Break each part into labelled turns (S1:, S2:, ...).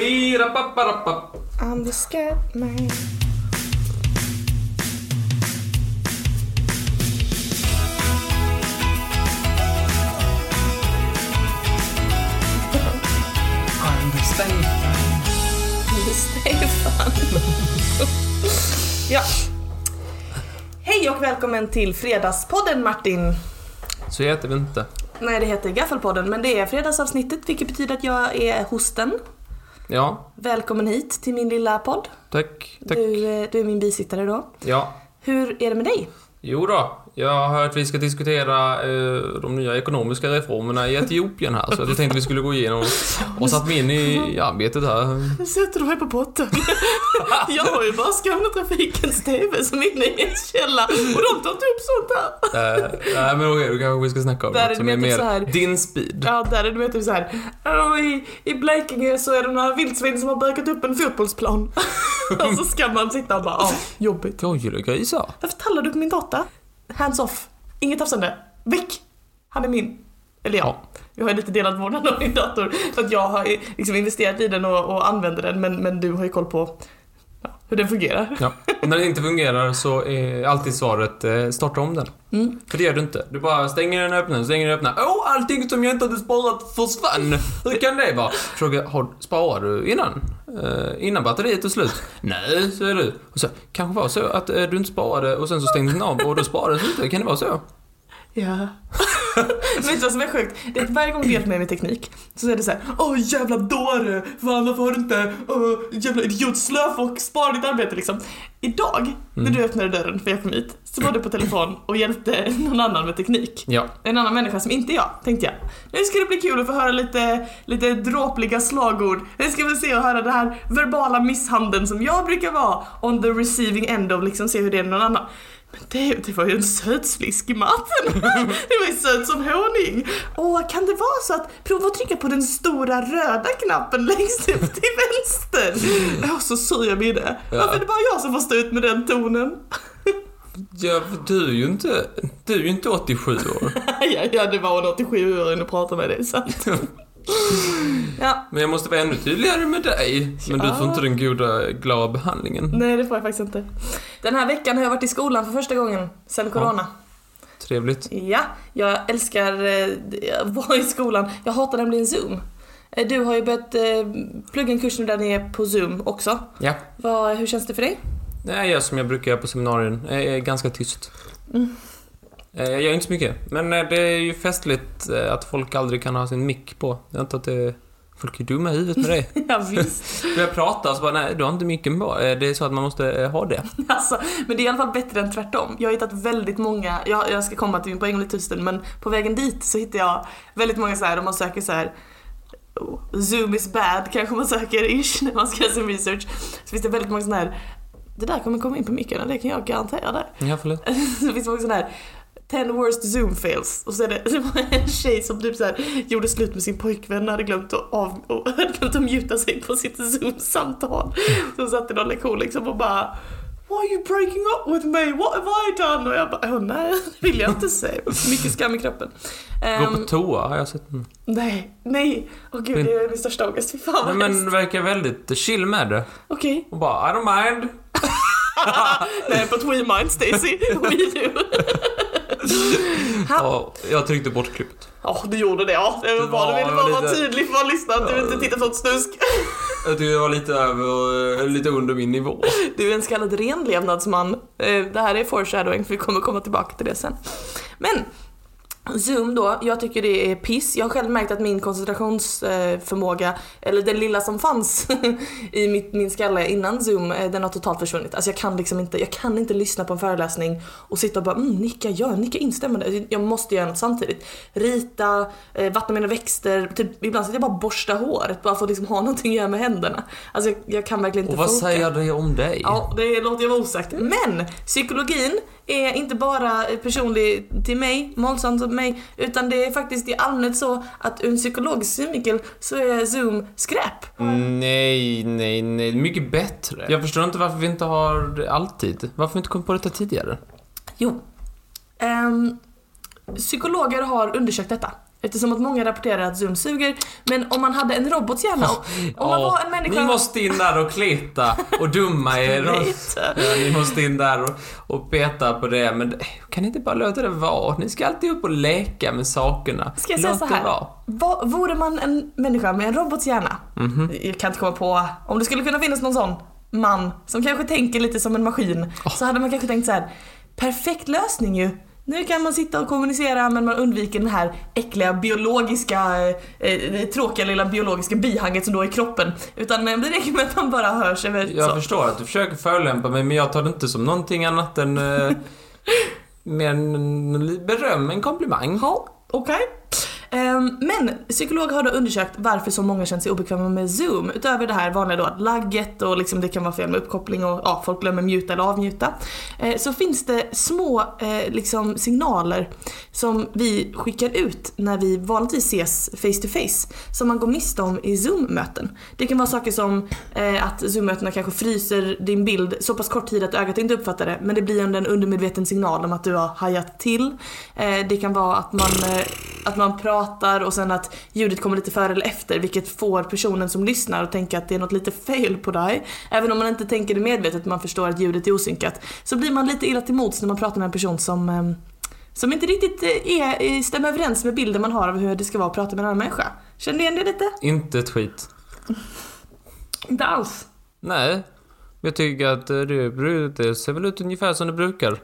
S1: Birapaparapa.
S2: I'm the scat man.
S1: I'm the Stefan.
S2: I'm the Stefan. ja. Hej och välkommen till Fredagspodden Martin.
S1: Så heter vi inte.
S2: Nej, det heter Gaffelpodden, men det är fredagsavsnittet vilket betyder att jag är hosten.
S1: Ja,
S2: Välkommen hit till min lilla podd.
S1: tack. tack.
S2: Du, eh, du är min bisittare då.
S1: Ja.
S2: Hur är det med dig?
S1: Jo då, jag har hört att vi ska diskutera eh, de nya ekonomiska reformerna i Etiopien här, så jag tänkte vi skulle gå igenom och satt mig in i arbetet här.
S2: Nu sätter du mig på botten. jag har ju bara Skånetrafikens TV som min nyhetskälla och de tar inte upp sånt här.
S1: Eh, Nej men okej, då kanske vi ska snacka om
S2: Där är
S1: något
S2: det
S1: som är
S2: mer typ
S1: mer
S2: så här.
S1: din speed.
S2: Ja, där är det mer typ såhär, i, i Blekinge så är det några vildsvin som har bökat upp en fotbollsplan. och så ska man sitta och bara, ja, jobbigt.
S1: Jag gillar grisar.
S2: Varför tallar du på min data? Hands off. Inget tafsande. Väck! Han är min. Eller ja, jag har ju lite delat vårdnad om min dator. För att jag har ju liksom investerat i den och, och använder den, men, men du har ju koll på ja, hur den fungerar.
S1: Ja. Och när det inte fungerar så är alltid svaret eh, starta om den.
S2: Mm.
S1: För det gör du inte. Du bara stänger den öppna, stänger den öppna. Åh, allting som jag inte hade sparat försvann! Hur kan det vara? Fråga, har, sparar du innan? Eh, innan batteriet är slut? Nej, säger du. Och så, kanske var så att eh, du inte sparade och sen så stängdes den av och då sparades du inte. Kan det vara så?
S2: Ja. Vet du vad som är sjukt? Det är att varje gång du hjälper mig med teknik så är det så här: Åh jävla dåre! Fan varför har du inte, åh jävla idiot slöfock, spara ditt arbete liksom. Idag, när du öppnade dörren för jag kom hit, så var du på telefon och hjälpte någon annan med teknik.
S1: Ja.
S2: En annan människa som inte är jag, tänkte jag. Nu ska det bli kul att få höra lite, lite dråpliga slagord. Nu ska vi se och höra det här verbala misshandeln som jag brukar vara on the receiving end of, liksom se hur det är med någon annan. Men det, det var ju en söt slisk i matten. Det var ju söt som honung. Åh, kan det vara så att prova att trycka på den stora röda knappen längst upp till vänster? Åh, så syr jag mig i det. Varför är det bara jag som får stå ut med den tonen?
S1: ja för du är ju inte, du är ju inte 87 år.
S2: Ja, ja, det var hon 87 år inne och pratade med dig, så att... Ja,
S1: Men jag måste vara ännu tydligare med dig. Men du
S2: Ja.
S1: får inte den goda, glada behandlingen.
S2: nej det får jag faktiskt inte. Den här veckan har jag varit i skolan för första gången sen corona.
S1: Trevligt.
S2: Ja, jag älskar eh, att vara i skolan. Jag hatar nämligen Zoom. Eh, Du har ju börjat eh, plugga en kurs nu där ni är på Zoom också.
S1: Ja.
S2: Vad, hur känns det för dig?
S1: Nej, jag som jag brukar göra på seminarien. Jag är ganska tyst. Eh, Jag gör inte så mycket. Men eh, det är ju festligt eh, att folk aldrig kan ha sin mick på. Jag antar att det... Folk är dumma i huvudet med det.
S2: Ja, visst.
S1: Börjar prata så bara, nej, du har inte micken på. Eh, Det är så att man måste eh, ha det.
S2: Alltså, men det är i alla fall bättre än tvärtom. Jag har hittat väldigt många, jag, jag ska komma till min poäng om lite tusen, men på vägen dit så hittar jag väldigt många så här, om man söker så här oh, Zoom is bad kanske man söker ish när man ska göra sin research. Så finns det väldigt många sådana här, det där kommer komma in på mycket, det kan jag garantera det.
S1: Ja, förlåt.
S2: så finns det också sån här 10 worst zoom fails och så är det, det var en tjej som typ så här gjorde slut med sin pojkvän och hade glömt att, av, och hade glömt att muta sig på sitt zoom-samtal. Så hon satt i någon lektion liksom och bara Why are you breaking up with me? What have I done? Och jag bara, åh nej, det vill jag inte säga. Mycket skam i kroppen.
S1: Gå på
S2: Ehm,
S1: toa, har jag sett. Mm.
S2: nej, nej. Åh gud, det är min största ångest. Fy fan
S1: Nej,
S2: vad hemskt.
S1: men verkar väldigt chill med det.
S2: Okej.
S1: Och bara, I don't mind.
S2: nej, but we mind Stacey. We do.
S1: Och jag tryckte bort klippet.
S2: Ja, du gjorde det. Ja, det var bra. Du ville
S1: Ja,
S2: bara
S1: lite-
S2: vara tydlig för att lyssna att du inte tittar på ett snusk.
S1: Jag tyckte det var lite över, eh, lite under min nivå.
S2: Du är en så kallad renlevnadsman. Eh, Det här är foreshadowing för vi kommer komma tillbaka till det sen. Men Zoom då, jag tycker det är piss. Jag har själv märkt att min koncentrationsförmåga, eller den lilla som fanns i mitt, min skalle innan Zoom, eh, den har totalt försvunnit. Alltså jag kan liksom inte, jag kan inte lyssna på en föreläsning och sitta och bara mm, nicka ja, nicka instämmande. Alltså, Jag måste göra något samtidigt. Rita, eh, vattna mina växter, typ, ibland sitter jag bara och borstar håret bara för att liksom ha någonting att göra med händerna. Alltså jag, jag kan verkligen inte
S1: Och vad
S2: funka.
S1: säger det om dig?
S2: Ja, det låter jag vara osagt.
S1: Mm.
S2: Men psykologin är inte bara personlig till mig, målsam till mig, utan det är faktiskt i allmänhet så att ur en psykologisk synvinkel så är Zoom skräp.
S1: Mm, Nej, nej, nej. Mycket bättre. Jag förstår inte varför vi inte har det alltid. Varför vi inte kom på detta tidigare?
S2: Jo. Ehm, psykologer har undersökt detta Eftersom att många rapporterar att Zoom suger. Men om man hade en robothjärna, om, om man
S1: Ja,
S2: var en människa...
S1: Ni måste in där och kleta och dumma er. Och,
S2: Lite.
S1: ja, ni måste in där och, och peta på det. Men det- kan ni inte bara låta det vara? Ni ska alltid upp och leka med sakerna.
S2: Ska jag säga
S1: Låt
S2: så
S1: det
S2: här?
S1: vara.
S2: Va, vore man en människa med en robothjärna?
S1: Mhm.
S2: Jag kan inte komma på, om det skulle kunna finnas någon sån man som kanske tänker lite som en maskin så hade man kanske tänkt så här: perfekt lösning ju. Nu kan man sitta och kommunicera men man undviker den här äckliga biologiska, eh, eh, tråkiga lilla biologiska bihanget som då är kroppen. Utan eh, det räcker med att man bara hörs över
S1: Jag
S2: så.
S1: förstår att du försöker förolämpa mig, men jag tar det inte som någonting annat än... Eh, mer än beröm, en komplimang.
S2: Ja, okej. Ehm, men psykologer har då undersökt varför så många känner sig obekväma med Zoom. Utöver det här vanliga då att lagget och liksom det kan vara fel med uppkoppling och ja, folk glömmer mjuta eller avmjuta. Eh, så finns det små eh, liksom signaler som vi skickar ut när vi vanligtvis ses face to face som man går miste om i Zoom-möten. Det kan vara saker som eh, att Zoom-mötena kanske fryser din bild så pass kort tid att ögat inte uppfattar det men det blir ändå en undermedveten signal om att du har hajat till. Eh, det kan vara att man, eh, att man pratar och sen att ljudet kommer lite före eller efter vilket får personen som lyssnar att tänka att det är något lite fel på dig. Även om man inte tänker det medvetet man förstår att ljudet är osynkat så blir man lite illa till mods när man pratar med en person som ehm, som inte riktigt eh, är, eh, stämmer överens med bilden man har av hur det ska vara att prata med en annan människa. Känner du igen det lite?
S1: Inte ett skit.
S2: Inte alls.
S1: Nej, jag tycker att eh, det, brudet, det ser väl ut ungefär som det brukar.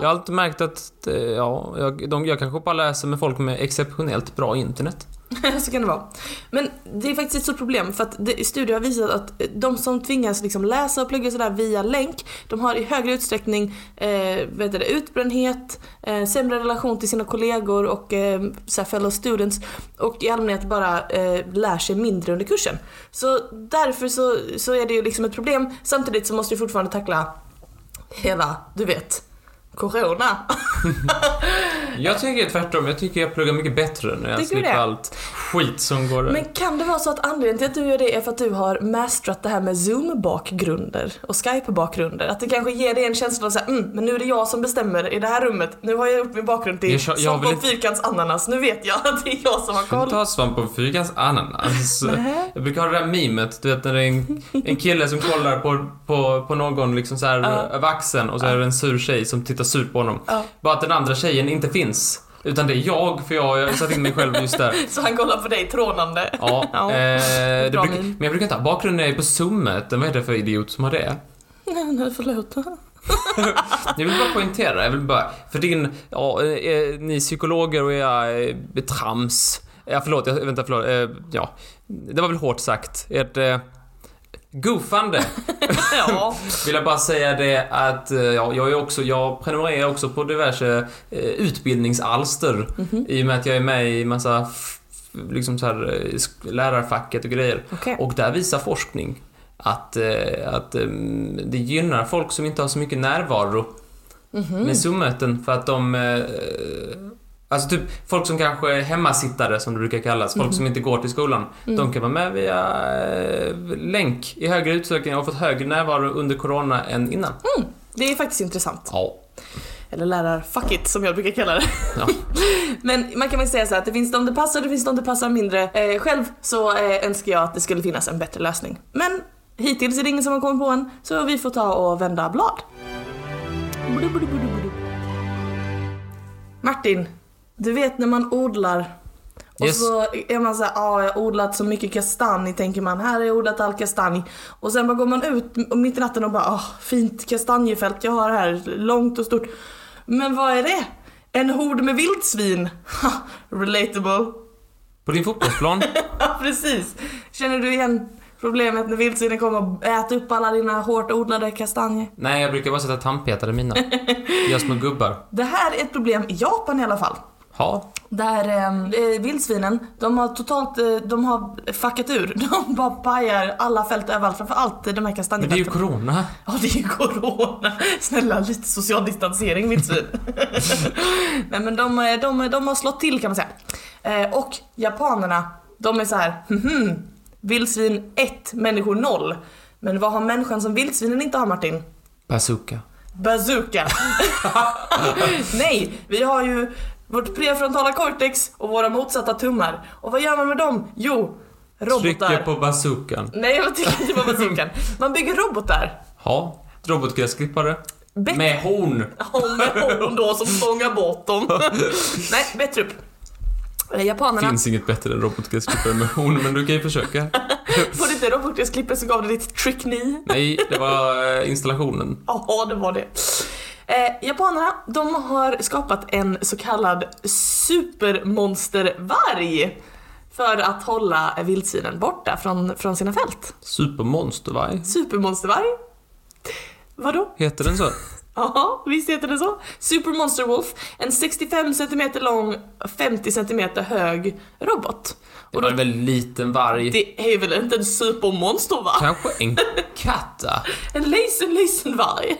S1: Jag har alltid märkt att eh, ja, jag, de, jag kanske bara läser med folk med exceptionellt bra internet.
S2: så kan det vara. Men det är faktiskt ett stort problem för att det, studier har visat att eh, de som tvingas liksom läsa och plugga sådär via länk, de har i högre utsträckning eh, vad heter det, utbrändhet, eh, sämre relation till sina kollegor och eh, så här fellow students och i allmänhet bara eh, lär sig mindre under kursen. Så därför så, så är det ju liksom ett problem. Samtidigt så måste du fortfarande tackla hela, du vet, corona.
S1: Jag tycker tvärtom, jag tycker jag pluggar mycket bättre när jag
S2: Tycker du
S1: slipper
S2: det?
S1: allt skit som går
S2: Men kan det vara så att anledningen till att du gör det är för att du har mastrat det här med zoom-bakgrunder och skype-bakgrunder? Att det kanske ger dig en känsla av såhär, mm, men nu är det jag som bestämmer i det här rummet. Nu har jag gjort min bakgrund till
S1: Jag kör- jag
S2: svamp
S1: vill
S2: och
S1: inte-
S2: fyrkants ananas. Nu vet jag att det är jag som har koll.
S1: Ta svamp på fyrkants ananas.
S2: Nähä.
S1: Jag brukar ha det där mimet, du vet när det är en, en kille som kollar på, på, på någon liksom så här
S2: Ja.
S1: över axeln och så är det en sur tjej som tittar surt på honom.
S2: Ja.
S1: Bara att den andra tjejen inte finns. Utan det är jag, för jag, jag satt in mig själv just där.
S2: Så han kollar på dig trånande.
S1: Ja,
S2: Ja,
S1: eh, det
S2: bra
S1: bruk,
S2: min.
S1: men jag brukar inte ha bakgrunden är på zoomet. Vad är det för idiot som har det?
S2: Nej, nej, förlåt.
S1: Jag vill bara poängtera, jag vill bara, för din, ja, eh, eh, ni psykologer och jag eh, trams. Ja, förlåt, jag, vänta, förlåt, eh, ja. Det var väl hårt sagt. Ert eh, goofande
S2: ja.
S1: vill jag bara säga det att eh, ja, jag är också, jag prenumererar också på diverse eh, utbildningsalster
S2: Mhm.
S1: i och med att jag är med i massa f- f- liksom så här, eh, sk- lärarfacket och grejer.
S2: Okej.
S1: Och där visar forskning att, eh, att eh, det gynnar folk som inte har så mycket närvaro med Zoom-möten för att de... eh, Alltså typ folk som kanske är hemmasittare som det brukar kallas, folk som inte går till skolan. De kan vara med via eh, länk i högre utsträckning och har fått högre närvaro under corona än innan.
S2: Det är faktiskt intressant.
S1: Ja.
S2: Eller lärarfacket som jag brukar kalla det.
S1: Ja.
S2: Men man kan väl säga så här att det finns de det passar, det finns de det passar mindre. Eh, själv så eh, önskar jag att det skulle finnas en bättre lösning. Men hittills är det ingen som har kommit på en, så vi får ta och vända blad. Martin, du vet när man odlar och
S1: Yes.
S2: så är man såhär, ah, jag har odlat så mycket kastanj tänker man, här har jag odlat all kastanj. Och sen bara går man ut mitt i natten och bara, ah, fint kastanjefält jag har här, långt och stort. Men vad är det? En hord med vildsvin? Ha, relatable.
S1: På din fotbollsplan?
S2: Ja, precis. Känner du igen problemet när vildsvinen kommer och äter upp alla dina hårt odlade kastanjer?
S1: Nej, jag brukar bara sätta tandpetare i mina. Gör små gubbar.
S2: Det här är ett problem i Japan i alla fall.
S1: Ja.
S2: Där eh, eh, vildsvinen, de har totalt, eh, de har fuckat ur. De bara pajar alla fält överallt, framförallt de här
S1: Men det är ju
S2: kastanjefälten.
S1: corona.
S2: Ja det är ju corona. Snälla lite social distansering vildsvin. Nej men de, eh, de, de har slått till kan man säga. Eh, och japanerna, de är så här, mhm, vildsvin 1, människor 0. Men vad har människan som vildsvinen inte har Martin?
S1: Bazooka.
S2: Bazooka. Nej, vi har ju vårt prefrontala cortex och våra motsatta tummar. Och vad gör man med dem? Jo, robotar.
S1: Trycker på bazookan.
S2: Nej, jag tycker inte på musiken. Man bygger robotar.
S1: Ja, robotgräsklippare.
S2: Bet-
S1: Med horn.
S2: Ja, med hon då som fångar bort dem. Nej, bättre upp. Eh, Japanerna,
S1: Finns inget bättre än robotgräsklippare med horn, men du kan ju försöka.
S2: var det inte robotgräsklippet som gav dig ditt trick knee?
S1: Nej, det var eh, installationen.
S2: Ja, det var det. Eh, japanerna, de har skapat en så kallad supermonstervarg för att hålla vildsvinen borta från, från sina fält.
S1: Supermonstervarg.
S2: Supermonstervarg? Vadå?
S1: Heter den så?
S2: Ja, visst heter det så? Super Monster Wolf, en 65 cm lång, 50 cm hög robot.
S1: Det var
S2: Och då,
S1: en väldigt liten varg.
S2: det är väl inte en supermonster va?
S1: Kanske en katta?
S2: En liten, liten varg.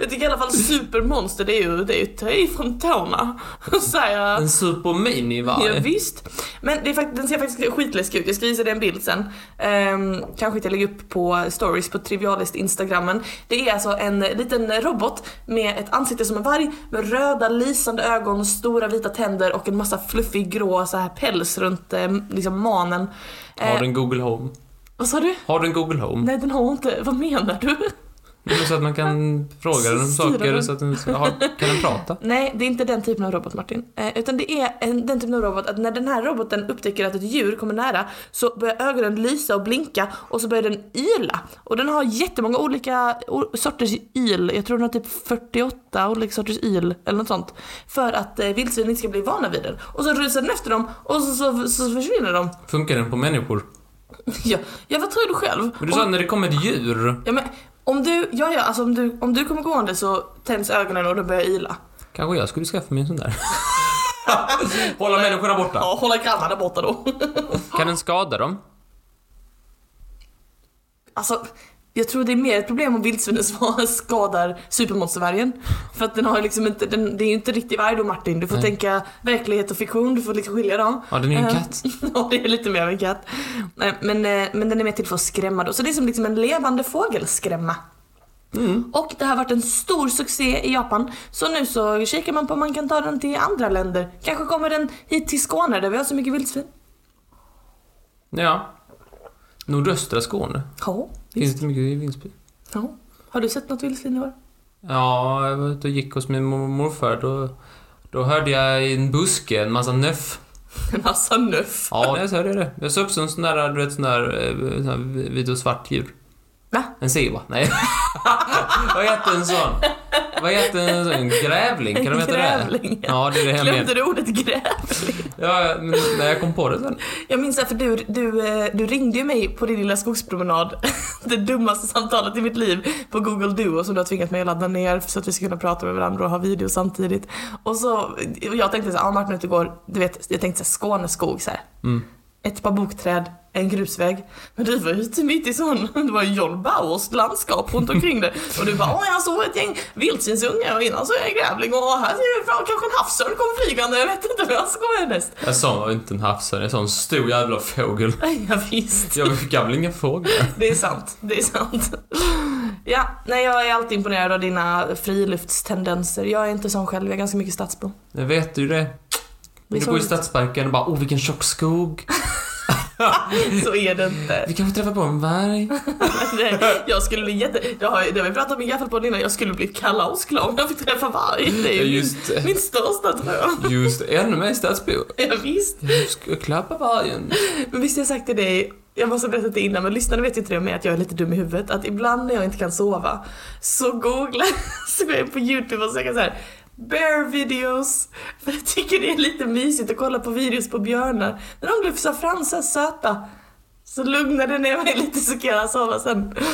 S2: jag tycker i alla fall supermonster, det är ju, det är ju ta ifrån tårna. Säger
S1: En superminivarg?
S2: Ja, visst. Men det är fakt- den ser faktiskt skitläskig ut, jag ska visa dig en bild sen. Ehm, kanske inte jag lägger upp på stories på trivialist instagrammen. Det är alltså en liten robot med ett ansikte som en varg med röda lysande ögon, stora vita tänder och en massa fluffig grå så här päls runt eh, liksom manen.
S1: Har
S2: Eh,
S1: den Google Home?
S2: Vad sa du?
S1: Har den Google Home?
S2: Nej den har inte, vad menar du?
S1: Men Så att man kan fråga den om
S2: Styra
S1: saker
S2: den.
S1: så att den ska, har, kan den prata?
S2: Nej, det är inte den typen av robot Martin. Eh, utan det är en, den typen av robot att när den här roboten upptäcker att ett djur kommer nära så börjar ögonen lysa och blinka och så börjar den yla. Och den har jättemånga olika o- sorters yl. Jag tror den har typ 48 olika sorters yl eller något sånt. För att eh, vildsvin inte ska bli vana vid den. Och så rusar den efter dem och så, så, så försvinner de.
S1: Funkar den på människor?
S2: Ja, ja vad tror du själv?
S1: Men du
S2: Om-
S1: sa när det kommer ett djur,
S2: ja, men, om du, ja, ja, alltså om du, om du kommer gående så tänds ögonen och den börjar yla.
S1: kanske jag skulle skaffa mig en sån där. Hålla människorna borta.
S2: Ja, hålla grannarna borta då.
S1: Kan den skada dem?
S2: Alltså, jag tror det är mer ett problem om vildsvinen sva- skadar supermonstervargen. För att den har liksom inte, den, det är ju inte riktig varg då Martin. Du får
S1: Nej.
S2: tänka verklighet och fiktion, du får liksom skilja dem.
S1: Ja, den är ju en
S2: Eh,
S1: katt.
S2: ja, det är lite mer av en katt. Nej, Men, eh, men den är mer till för att skrämma då. Så det är som liksom en levande fågelskrämma.
S1: Mm.
S2: Och det har varit en stor succé i Japan. Så nu så kikar man på om man kan ta den till andra länder. Kanske kommer den hit till Skåne där vi har så mycket vildsvin.
S1: Ja. Nordöstra Skåne.
S2: Ja,
S1: Finns
S2: visst.
S1: det inte mycket i Vinsby?
S2: Ja. Har du sett något vildsvin i år?
S1: Ja, jag var ute och gick hos min mor- morfar. Då, då hörde jag i en buske en massa nöff.
S2: En massa nöff.
S1: Ja, jag hörde det. Jag såg upp som en sån där, du vet, sån där, eh, sån här vit och svart djur.
S2: Va?
S1: En zebra? Nej. Vad heter en sån? Vad heter en sån? Grävling? Kan de heta det?
S2: Grävling.
S1: Ja, det är det jag menar.
S2: Glömde du ordet grävling?
S1: Ja, men när jag kom på det sen.
S2: Jag minns det för du, du, eh, du ringde ju mig på din lilla skogspromenad. Det dummaste samtalet i mitt liv på Google Duo som du har tvingat mig att ladda ner så att vi ska kunna prata med varandra och ha video samtidigt. Och så, och jag tänkte så här, ja Martin är ute och går, du vet, jag tänkte så här, Skåneskog så här. Ett par bokträd, en grusväg. Men du var ute mitt i sån, det var ju John Bauers landskap runt omkring dig. Och du bara, åh jag såg ett gäng vildsvinsungar och innan såg jag en grävling och här ser jag fram- kanske en havsörn kom flygande, jag vet inte vad jag skojar mest.
S1: Jag sa inte en havsörn, jag sa en stor jävla fågel.
S2: Ja, visst.
S1: Jag fick väl ingen fågel?
S2: Det är sant, det är sant. Ja, nej jag är alltid imponerad av dina friluftstendenser. Jag är inte sån själv, jag är ganska mycket stadsbo.
S1: Jag vet ju det.
S2: Det
S1: Men
S2: är
S1: du går i
S2: sorgligt.
S1: stadsparken och bara, oh vilken tjock skog.
S2: Så är det inte.
S1: Vi kanske träffar på en varg.
S2: Nej, jag skulle bli jätte... Det har, det har vi pratat om i gaffelpodden innan, jag skulle bli kalasglad om jag fick träffa varg. Det är ju
S1: Just,
S2: min, min största dröm.
S1: just ännu mer stadsbo.
S2: Ja, visst.
S1: Jag ska klappa vargen.
S2: Men visst har jag sagt till dig, jag måste ha berättat det innan men lyssnarna vet ju inte det med att jag är lite dum i huvudet. Att ibland när jag inte kan sova så googlar, så går jag in på youtube och söker så här bear videos. För jag tycker det är lite mysigt att kolla på videos på björnar. När de glufsar fram så här söta. Så lugnar det ner mig lite så kan jag sova sen.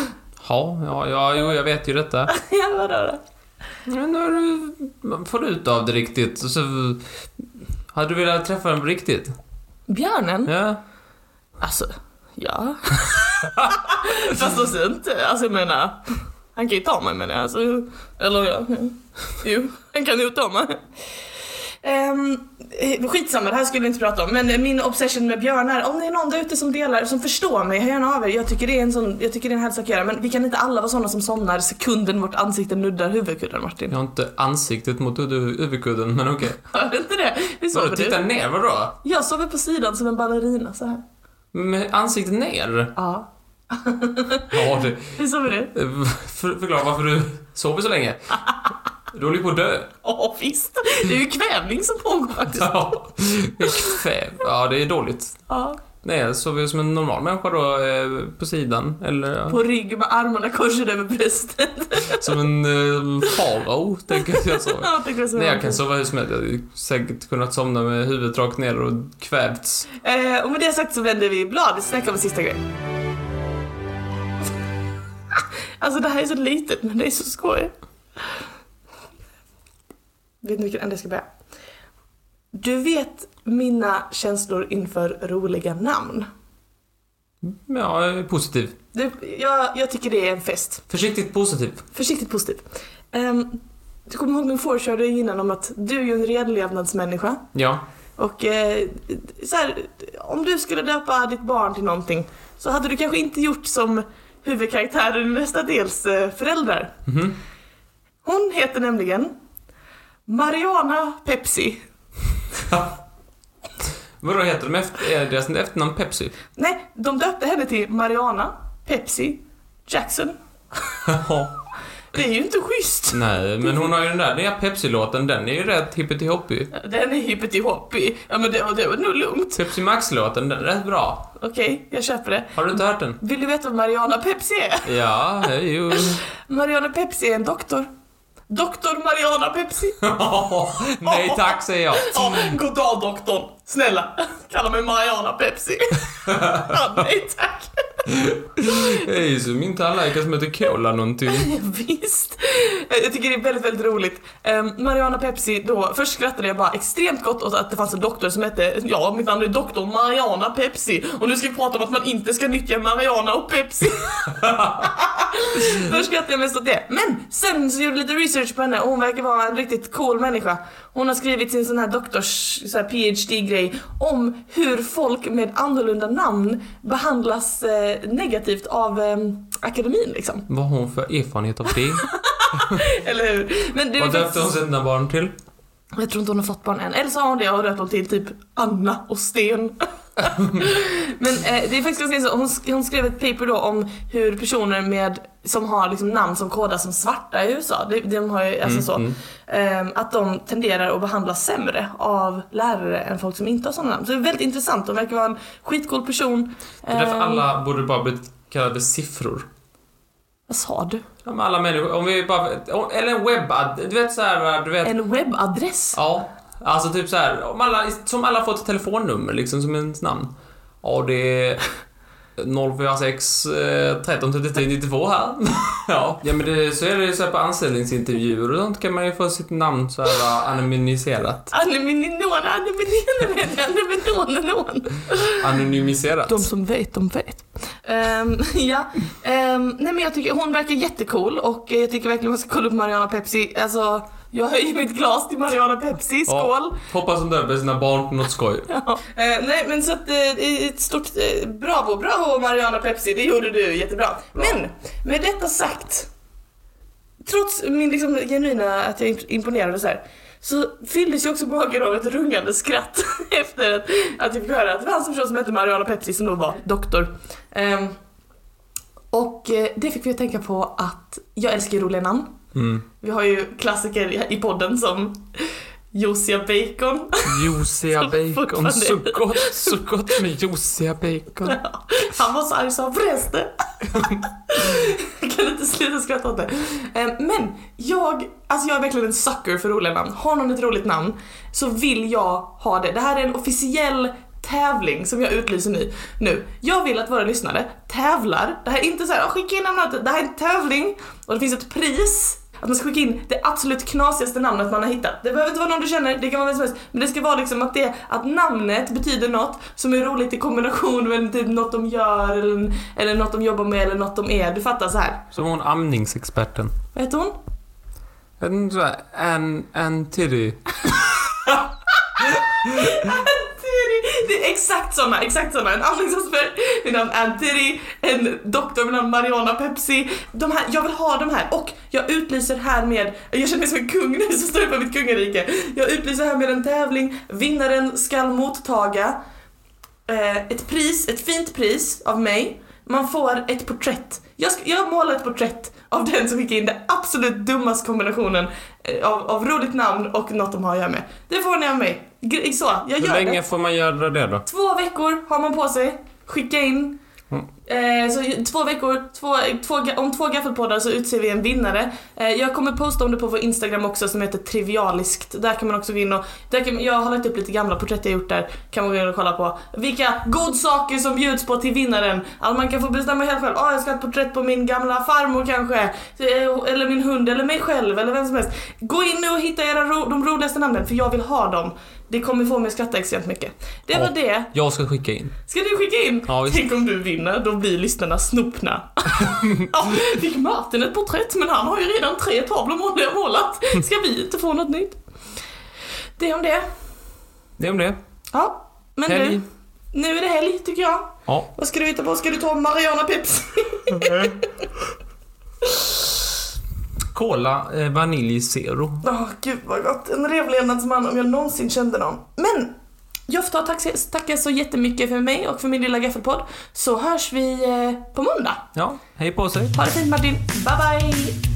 S1: Ja, ja, ja, jo, jag vet ju detta.
S2: ja vadå då?
S1: Men när du man får ut av det riktigt och så... Hade du velat träffa den på riktigt?
S2: Björnen?
S1: Ja.
S2: Alltså, ja. Fast då ser jag inte, alltså jag menar. Han kan ju ta mig menar jag. Alltså, eller ja. Jo, han kan ju ta mig. Ehm, eh, skitsamma, det här skulle vi inte prata om. Men eh, min obsession med björnar. Om det är någon där ute som delar, som förstår mig, hör gärna av er. Jag tycker det är en sån, jag tycker det är en hälsa att göra. Men vi kan inte alla vara såna som somnar sekunden vårt ansikte nuddar huvudkudden Martin.
S1: Jag har inte ansiktet mot huvud- huvudkudden, men okej.
S2: Hör du inte det? Hur
S1: Vadå,
S2: sover du?
S1: titta ner, vadå?
S2: Jag sover på sidan som en ballerina så här.
S1: Med ansiktet ner?
S2: Ja.
S1: Ja, det...
S2: Hur sover du?
S1: För, förklara varför du sover så länge. Du håller ju på att dö.
S2: Ja visst, det är ju kvävning som pågår faktiskt.
S1: Ja, kväv. Ja, det är dåligt.
S2: Ja.
S1: Nej, jag sover ju som en normal människa då, eh, på sidan. Eller ja,
S2: På rygg med armarna korsade över bröstet.
S1: som en eh, farao, tänker jag att jag sover.
S2: Ja, det går så
S1: Nej, jag
S2: långt.
S1: kan sova hur som helst. Jag hade säkert kunnat somna med huvudet rakt ner och kvävts.
S2: Eh, och med det sagt så vänder vi blad. Vi snackar om en sista grej. Alltså det här är så litet men det är så skoj. Vet ni vilken ände jag ska börja? Du vet mina känslor inför roliga namn.
S1: Ja, jag är positiv.
S2: Du, jag, jag tycker det är en fest.
S1: Försiktigt positiv.
S2: Försiktigt positiv. Um, du kommer ihåg min foreshadowing innan om att du är ju en redlevnadsmänniska.
S1: Ja.
S2: Och eh, så här, om du skulle döpa ditt barn till någonting så hade du kanske inte gjort som huvudkaraktären i nästa dels eh, föräldrar.
S1: Mhm.
S2: Hon heter nämligen Mariana Pepsi.
S1: Vadå, heter de efter, är deras efternamn Pepsi?
S2: Nej, de döpte henne till Mariana Pepsi Jackson.
S1: Ja.
S2: Det är ju inte schysst.
S1: Nej, men hon har ju den där nya Pepsi-låten, den är ju rätt hippity-hoppy.
S2: Den är hippity-hoppy. Ja men det, det var nog lugnt.
S1: Pepsi Max-låten, den är rätt bra.
S2: Okej, jag köper det.
S1: Har du inte hört den?
S2: Vill du veta vad Mariana Pepsi är?
S1: Ja, det är ju...
S2: Mariana Pepsi är en doktor. Doktor Mariana Pepsi.
S1: Nej tack, säger jag.
S2: Ja, god dag doktorn. Snälla, kalla mig Mariana Pepsi. ja, nej tack.
S1: Det är ju som inte alla som heter Cola någonting.
S2: Visst. Jag tycker det är väldigt, väldigt roligt. Ehm, Mariana Pepsi då, först skrattade jag bara extremt gott åt att det fanns en doktor som hette, ja mitt namn är doktor Mariana Pepsi och nu ska vi prata om att man inte ska nyttja Mariana och Pepsi. först skrattade jag mest åt det. Men sen så gjorde jag lite research på henne och hon verkar vara en riktigt cool människa. Hon har skrivit sin sån här doktors, så här PhD-grej om hur folk med annorlunda namn behandlas eh, negativt av eh, akademin liksom.
S1: Vad har hon för erfarenhet av det?
S2: Eller hur? Men det är
S1: Vad döpte hon
S2: faktiskt...
S1: sina barn till?
S2: Jag tror inte hon har fått barn än. Eller så har hon det och döpt dem till typ Anna och Sten. Men eh, det är faktiskt ganska intressant. Hon, sk- hon skrev ett paper då om hur personer med som har liksom namn som kodas som svarta i USA, de, de har ju, alltså så,
S1: Mm,
S2: ehm, att de tenderar att behandlas sämre av lärare än folk som inte har sådana namn. Så det är väldigt intressant, hon verkar vara en skitcool person.
S1: Det är därför
S2: Ehm,
S1: alla borde bara blivit kallade siffror.
S2: Vad sa du?
S1: Ja, men Alla människor, om vi bara... Eller en webbad, du vet så här, du vet...
S2: En webbadress?
S1: Ja, alltså typ så här, om alla, som alla fått ett telefonnummer liksom som ens namn. Ja, det är 046 eh, 13 33 92 här. ja. ja, men det, så är det ju så här på anställningsintervjuer och sånt kan man ju få sitt namn så här eh, anonymiserat.
S2: Annemininon, annemininon, anneminonenon.
S1: Anonymiserat.
S2: De som vet, de vet. Ehm, ja. Ehm, nej men jag tycker hon verkar jättecool och eh, jag tycker verkligen man ska kolla upp Mariana Pepsi. Alltså, jag höjer mitt glas till Mariana Pepsi, skål!
S1: Hoppas de döper sina barn till något skoj.
S2: Ja. Eh, nej men så att eh, det är ett stort eh, bravo, bravo Mariana Pepsi, det gjorde du jättebra. Men med detta sagt, trots min liksom genuina att jag imponerade så här, så fylldes ju också magen av ett rungande skratt efter att, att jag fick höra att det fanns en person som hette Mariana Pepsi som då var doktor. Ehm, och eh, det fick mig att tänka på att jag älskar ju roliga namn.
S1: Mm.
S2: Vi har ju klassiker i- i podden som Josia Bacon.
S1: Juiciga bacon,
S2: Fortfarande.
S1: så gott, så gott med juiciga bacon.
S2: Han var så arg så han förresten. jag kan inte sluta skratta åt det. Eh, Men jag, alltså jag är verkligen en sucker för roliga namn. Har någon ett roligt namn så vill jag ha det. Det här är en officiell tävling som jag utlyser nu. nu. Jag vill att våra lyssnare tävlar. Det här är inte så här, "Ah, skicka in namnet. Det här är en tävling och det finns ett pris. Att man ska skicka in det absolut knasigaste namnet man har hittat. Det behöver inte vara någon du känner, det kan vara vem som helst. Men det ska vara liksom att, det, att namnet betyder något som är roligt i kombination med typ något de gör eller, eller något de jobbar med eller något de är. Du fattar så här.
S1: Som hon amningsexperten.
S2: Vad heter hon?
S1: En sån här, en, en titty.
S2: Antiri! Det är exakt såna, exakt såna. En andningsaspirant vid namn Antiri, en doktor vid namn Mariana Pepsi. De här, jag vill ha de här och jag utlyser här med, jag känner mig som en kung nu som står uppe mitt kungarike. Jag utlyser här med en tävling, vinnaren skall mottaga eh, ett pris, ett fint pris av mig. Man får ett porträtt. Jag, ska, jag målar ett porträtt av den som fick in den absolut dummaste kombinationen eh, av, av roligt namn och något de har att göra med. Det får ni av mig. Gre- Så, jag
S1: Hur
S2: gör det.
S1: länge får man göra det då?
S2: Två veckor har man på sig. Skicka in.
S1: Mm.
S2: Eh, så ju- två veckor, två, två, ga- om två gaffelpoddar så utser vi en vinnare. Eh, jag kommer posta om det på vår Instagram också som heter trivialiskt. Där kan man också gå in och, där kan, jag har lagt upp lite gamla porträtt jag gjort där. Kan man gå in och kolla på vilka godsaker som bjuds på till vinnaren. Att man kan få bestämma helt själv. Ah, jag ska ha ett porträtt på min gamla farmor kanske. Eh, Eller min hund eller mig själv eller vem som helst. Gå in nu och hitta era ro, de roligaste namnen för jag vill ha dem. Det kommer få mig att skratta extremt mycket. Det var
S1: Ja.
S2: det.
S1: Jag ska skicka in.
S2: Ska du skicka in?
S1: Ja, visst.
S2: Tänk om du vinner, då blir lyssnarna snopna. ja, fick Martin ett porträtt men han har ju redan tre tavlor mål- målat. Ska vi inte få något nytt? Det om det.
S1: Det är om det.
S2: Ja, men
S1: Helg.
S2: du. Nu är det helg tycker jag.
S1: Ja.
S2: Vad ska du hitta på? Ska du ta Mariana Pepsi?
S1: Cola eh, vanilj zero.
S2: Åh gud vad gott. En revlevnadsman om jag någonsin kände någon. Men jag får ta och tacka, tacka så jättemycket för mig och för min lilla gaffelpodd. Så hörs vi eh, på måndag.
S1: Ja, hej på sig.
S2: Ha det fint Martin. Bye bye.